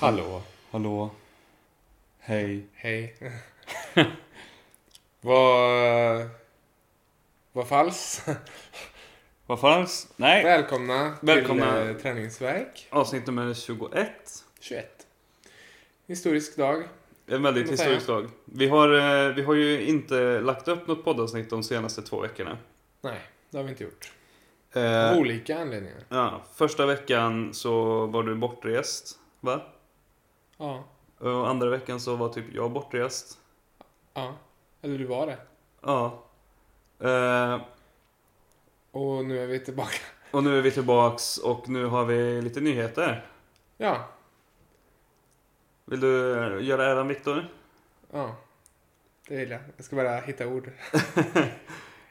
Hallå. Hallå. Hej. Hej. Vad... Vad falskt. Vad fanns? Nej. Välkomna, Välkomna. till eh, Träningsverk Avsnitt nummer 21. 21. Historisk dag. En väldigt Vad säger historisk dag. Vi har, eh, vi har ju inte lagt upp något poddavsnitt de senaste två veckorna. Nej, det har vi inte gjort. Av Eh, olika anledningar. ja, första veckan så var du bortrest, va? Ja. Och andra veckan så var typ jag bortrest. Ja. Eller du var det. Ja. Eh, Och nu är vi tillbaka. och nu är vi tillbaks och nu har vi lite nyheter. Ja. Vill du eh, göra äran Viktor? Ja. Det vill jag. Jag ska bara hitta ord.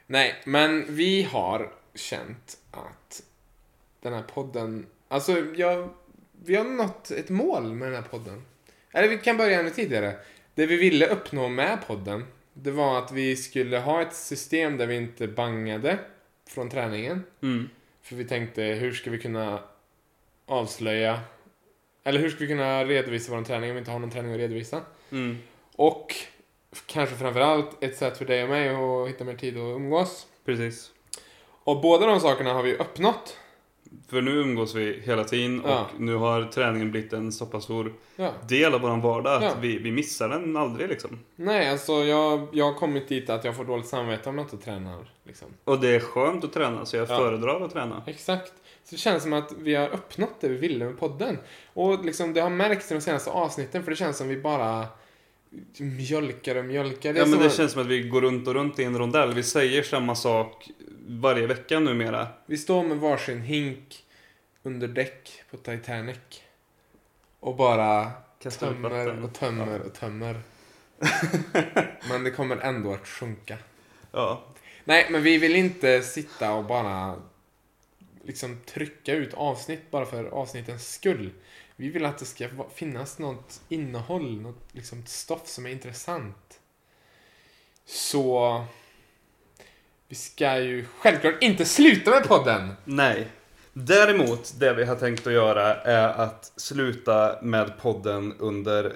Nej, men vi har känt att den här podden... Alltså, jag, vi har nått ett mål med den här podden. Eller vi kan börja ännu tidigare. Det vi ville uppnå med podden, det var att vi skulle ha ett system där vi inte bangade från träningen. Mm. För vi tänkte, hur ska vi kunna avslöja... Eller hur ska vi kunna redovisa vår träning om vi inte har någon träning att redovisa? Mm. Och kanske framförallt ett sätt för dig och mig att hitta mer tid att umgås. Precis. Och båda de sakerna har vi ju uppnått. För nu umgås vi hela tiden och Ja. nu har träningen blivit en så pass stor Ja. del av vår vardag att Ja. vi, vi missar den aldrig liksom. Nej, alltså jag, jag har kommit dit att jag får dåligt samvete om jag inte tränar. Liksom. Och det är skönt att träna så jag Ja. föredrar att träna. Exakt. Så det känns som att vi har uppnått det vi ville med podden. Och liksom, det har märkts i de senaste avsnitten för det känns som vi bara mjölkar och mjölkar. Det är Ja men som det att känns som att vi går runt och runt i en rondell. Vi säger samma sak varje vecka numera. Vi står med varsin hink under däck på Titanic. Och bara Kastar ut Tömmer vatten. och tömmer och tömmer. men det kommer ändå att sjunka. Ja. Nej, men vi vill inte sitta och bara liksom trycka ut avsnitt bara för avsnittens skull. Vi vill att det ska va- finnas något innehåll, något liksom stoff som är intressant. Så vi ska ju självklart inte sluta med podden. Nej. Däremot, det vi har tänkt att göra är att sluta med podden under eh,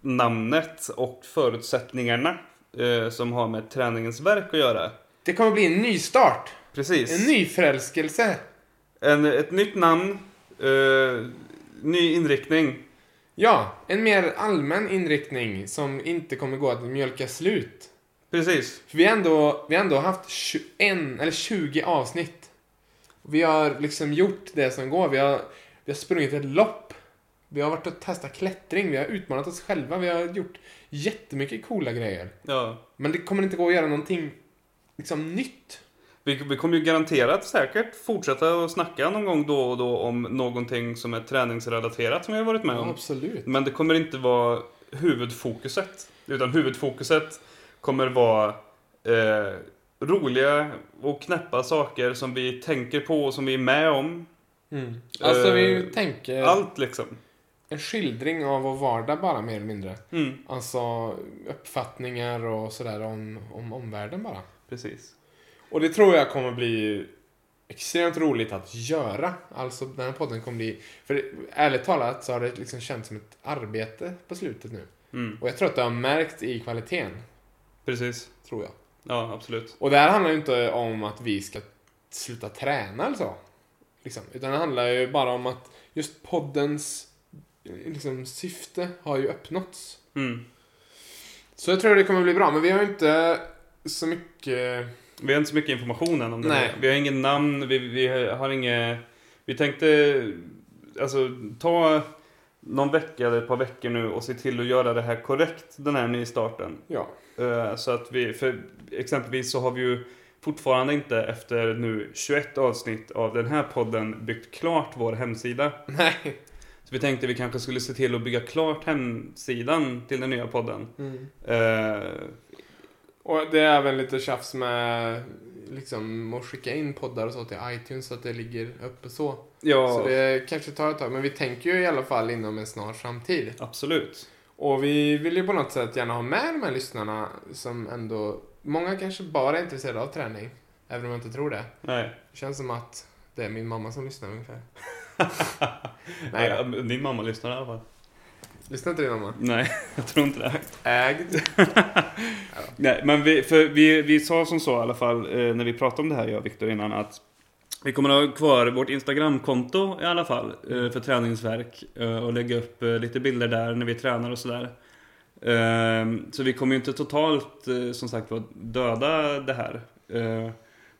namnet och förutsättningarna eh, som har med träningens verk att göra. Det kommer bli en ny start, Precis. en ny förälskelse. En, ett nytt namn, eh, ny inriktning. Ja, en mer allmän inriktning som inte kommer gå att mjölka slut. Precis. För vi har ändå, vi har ändå haft 21, eller 20 avsnitt. Vi har liksom gjort det som går. Vi har, vi har sprungit ett lopp. Vi har varit och testat klättring. Vi har utmanat oss själva. Vi har gjort jättemycket coola grejer. Ja. Men det kommer inte gå att göra någonting liksom nytt. Vi, vi kommer ju garanterat säkert fortsätta att snacka någon gång då och då om någonting som är träningsrelaterat som vi har varit med om. absolut. Men det kommer inte vara huvudfokuset. Utan huvudfokuset kommer vara eh, roliga och knäppa saker som vi tänker på och som vi är med om. Mm. Alltså vi Eh, tänker Allt liksom. en skildring av vår vardag bara mer eller mindre. Mm, Alltså uppfattningar och sådär om, om omvärlden bara. precis. Och det tror jag kommer bli extremt roligt att göra. Alltså den här podden kommer bli... För ärligt talat så har det liksom känts som ett arbete på slutet nu. Mm, Och jag tror att det har märkt i kvaliteten. precis. Tror jag. Ja, absolut. Och det här handlar ju inte om att vi ska sluta träna eller så. Liksom. Utan det handlar ju bara om att just poddens liksom, syfte har ju uppnåtts. Mm. Så jag tror det kommer bli bra, men vi har ju inte så mycket... Vi har inte så mycket information än om det. Nej. här. Vi har ingen namn, vi, vi har inget... Vi tänkte alltså, ta någon vecka eller ett par veckor nu och se till att göra det här korrekt, den här nystarten. Ja. Eh, Så att vi, för exempelvis så har vi ju fortfarande inte efter nu 21 avsnitt av den här podden byggt klart vår hemsida. Nej. Så vi tänkte vi kanske skulle se till att bygga klart hemsidan till den nya podden. Mm. Eh, Och det är även lite tjafs med liksom att skicka in poddar och så till iTunes så att det ligger uppe så. ja, Så det kanske tar ett tag, men vi tänker ju i alla fall inom en snar framtid. absolut. Och vi vill ju på något sätt gärna ha med de här lyssnarna som ändå, många kanske bara är intresserade av träning, även om jag inte tror det. Nej. Det känns som att det är min mamma som lyssnar ungefär. Nej Nej. då. Din mamma lyssnar i alla fall. Lyssnar inte din mamma? Nej, jag tror inte det. Ägd. Nej, men vi, för vi, vi sa som så i alla fall eh, när vi pratade om det här jag och Viktor innan att vi kommer att ha kvar vårt Instagramkonto i alla fall eh, för träningsverk eh, och lägga upp eh, lite bilder där när vi tränar och sådär. Eh, så vi kommer ju inte totalt eh, som sagt var döda det här. Eh,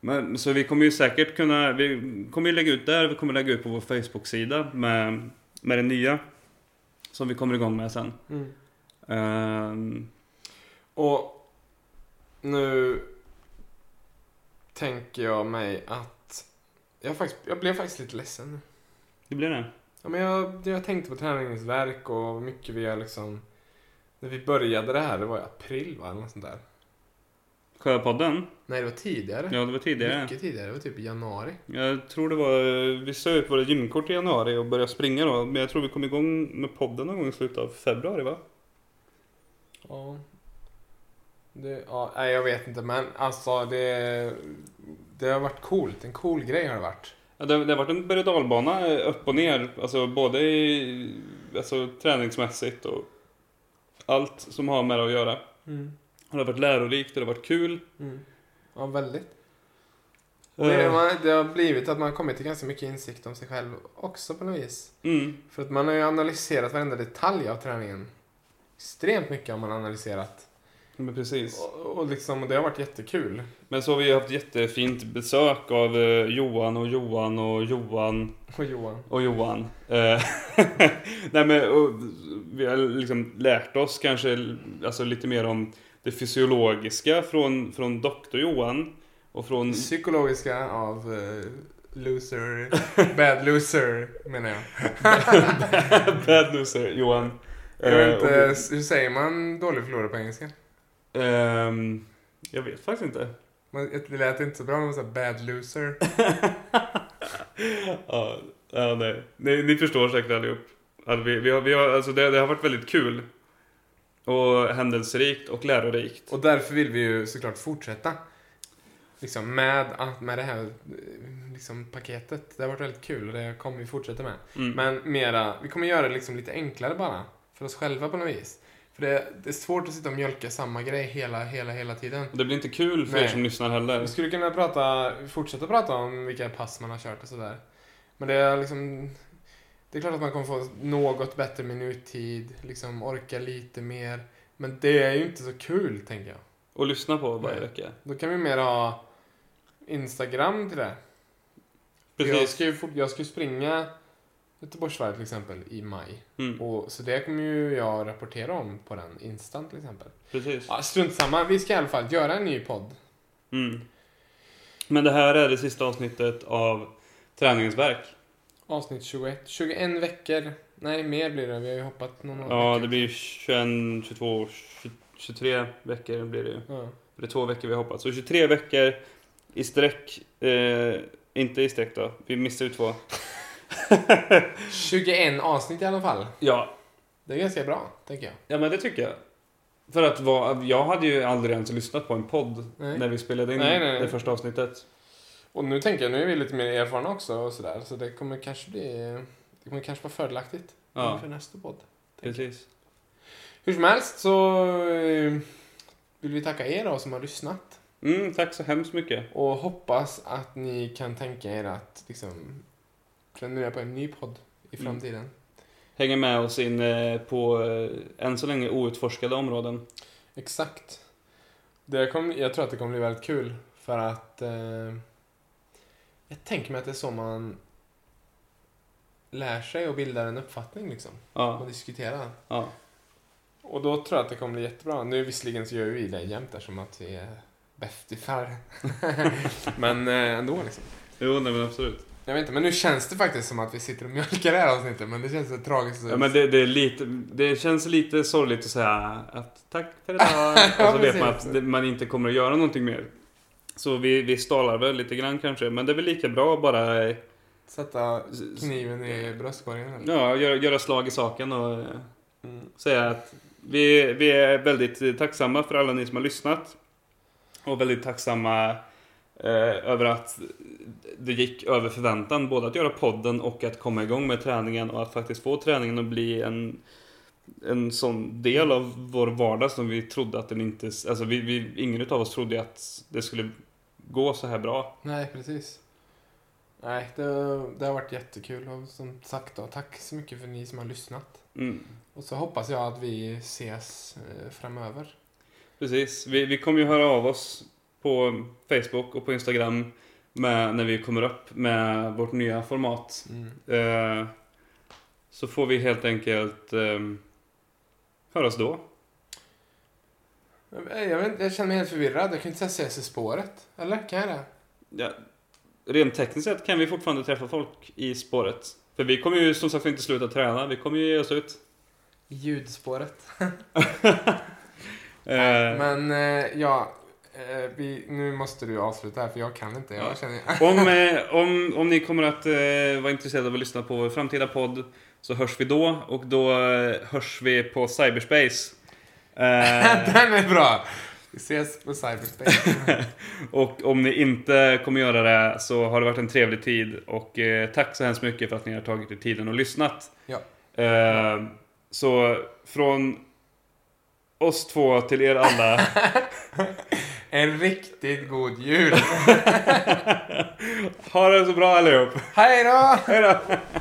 men, så vi kommer ju säkert kunna, vi kommer ju lägga ut där, vi kommer lägga ut på vår Facebook-sida med, med det nya som vi kommer igång med sen. Mm. Eh, Och nu tänker jag mig att... Jag, faktiskt, jag blev faktiskt lite ledsen nu. det blir det. Ja, men jag, jag tänkte på träningsverk och hur mycket vi har liksom... När vi började det här, det var i april va? Eller något sånt där. Sjöpodden? Nej, det var tidigare. Ja, det var tidigare. Mycket tidigare. Det var typ i januari. Jag tror det var, vi sa ut våra gymkort i januari och började springa då. Men jag tror vi kom igång med podden någon gång i slutet av februari va? Ja. Det, ja, nej, jag vet inte, men alltså det... Det har varit coolt. En cool grej har det varit. Ja, det, det har varit en berg och dalbana eh, upp och ner. Alltså både i, alltså, träningsmässigt och allt som har med det att göra. Det har varit lärorikt och det har varit kul. Ja, väldigt. Det, Eh, man, det har blivit att man har kommit till ganska mycket insikt om sig själv också på något vis. Mm. För att man har ju analyserat varenda detalj av träningen. Extremt mycket har man analyserat. Men precis. Och, och liksom, och det har varit jättekul. Men så har vi ju haft jättefint besök av eh, Johan och Johan och Johan Och Johan. och Johan. Eh, Nej, men, och, vi har liksom lärt oss kanske alltså, lite mer om det fysiologiska från, från doktor Johan. Och från... Psykologiska av eh, loser, bad loser menar jag. Bad loser, Johan. Mm. Jag Eh, vet inte, hur säger man dålig förlorare på engelska? och- ehm, jag vet faktiskt inte. Man, det lät inte så bra när man sa bad loser. ja, ja, nej. Ni, ni förstår säkert allihop. Alltså, vi, vi har, vi har, alltså, det, det har varit väldigt kul. Och händelserikt och lärorikt. Och därför vill vi ju såklart fortsätta. Liksom med, att- med det här eh, liksom, paketet. Det har varit väldigt kul och det kommer vi fortsätta med. Mm. Men mera, vi kommer göra det liksom lite enklare bara. För oss själva på något vis. För det, det är svårt att sitta och mjölka samma grej hela, hela, hela tiden. Och det blir inte kul för er Nej. som lyssnar heller. Vi skulle kunna prata, fortsätta prata om vilka pass man har kört och sådär. Men det är liksom... Det är klart att man kommer få något bättre minuttid, liksom orka lite mer. Men det är ju inte så kul, tänker jag. Och lyssna på varje Nej. vecka. Då kan vi mer ha Instagram till det. Jag Precis. ska ju, fort, jag ska ju springa Göteborgsvarvet till exempel i maj. Mm. Och, så det kommer ju jag rapportera om på den instan till exempel. Precis. Ja, strunt samma. Vi ska i alla fall göra en ny podd. Mm. Men det här är det sista avsnittet av Träningsverk. Avsnitt 21. 21 veckor. Nej, mer blir det. Vi har ju hoppat någon Ja, vecka. det blir 21, 22, 23 veckor blir det ju. Ja. Det är två veckor vi har hoppat. Så 23 veckor i sträck. Eh, inte i sträck då, vi missar ju två. 21 avsnitt i alla fall. Ja, Det är ganska bra, tänker jag. ja men det tycker jag. För att vara, jag hade ju aldrig ens lyssnat på en podd Nej. när vi spelade in Nej, nej, nej. det första avsnittet. Och nu tänker jag, nu är vi lite mer erfarna också och sådär. Så det kommer kanske bli... Det kommer kanske vara fördelaktigt Ja, inför nästa podd. precis. Hur som helst så eh, vill vi tacka er då som har lyssnat Mm, tack så hemskt mycket. och hoppas att ni kan tänka er att liksom prenumerera på en ny podd i Mm. framtiden. Hänger med oss in eh, på eh, än så länge outforskade områden. Exakt. Det kom, jag tror att det kommer bli väldigt kul för att eh, jag tänker mig att det är så man lär sig och bildar en uppfattning liksom och Ja, diskuterar. ja. Och då tror jag att det kommer bli jättebra. Nu visserligen så gör vi det jämt som att vi är bästisar. Men eh, ändå liksom. Jo, nej men absolut. Jag vet inte, men nu känns det faktiskt som att vi sitter och mjölkar det här avsnittet, men det känns så tragiskt. Ja, men det, det, är lite, det känns lite sorgligt att säga att tack för idag. Och så vet man precis. att det- man inte kommer att göra någonting mer. Så vi, vi stalar väl lite grann kanske, men det är väl lika bra att bara eh, Sätta s- s- kniven i bröstkorgen eller? ja, göra, göra slag i saken och eh, Mm. säga att vi, vi är väldigt tacksamma för alla ni som har lyssnat. Och väldigt tacksamma eh, över att det gick över förväntan både att göra podden och att komma igång med träningen och att faktiskt få träningen att bli en en sån del av vår vardag som vi trodde att den inte... Alltså vi, vi, ingen av oss trodde att det skulle gå så här bra. Nej, precis. Nej, det, det har varit jättekul och som sagt då, tack så mycket för ni som har lyssnat. Mm. Och så hoppas jag att vi ses eh, framöver. Precis. Vi, vi kommer ju höra av oss på Facebook och på Instagram med, när vi kommer upp med vårt nya format. Mm. Eh, så får vi helt enkelt eh, höras då. Jag, jag, vet, inte, jag känner mig helt förvirrad. Jag kan inte säga ses i spåret. Eller? Kan jag det? Ja, rent tekniskt sett kan vi fortfarande träffa folk i spåret. För vi kommer ju som sagt inte sluta träna, vi kommer ju ge oss ut. Ljudspåret. Eh, Men eh, ja, eh, vi, nu måste du avsluta här för jag kan inte. Jag Ja. känner... om, eh, om, om ni kommer att eh, vara intresserade av att lyssna på vår framtida podd så hörs vi då och då eh, hörs vi på cyberspace. Eh, Den är bra! Vi ses på cyberspace. och om ni inte kommer göra det så har det varit en trevlig tid och eh, tack så hemskt mycket för att ni har tagit er tiden och lyssnat. Ja. Eh, så från oss två till er alla En riktigt god jul! ha det så bra allihop! Hej då! Hej då!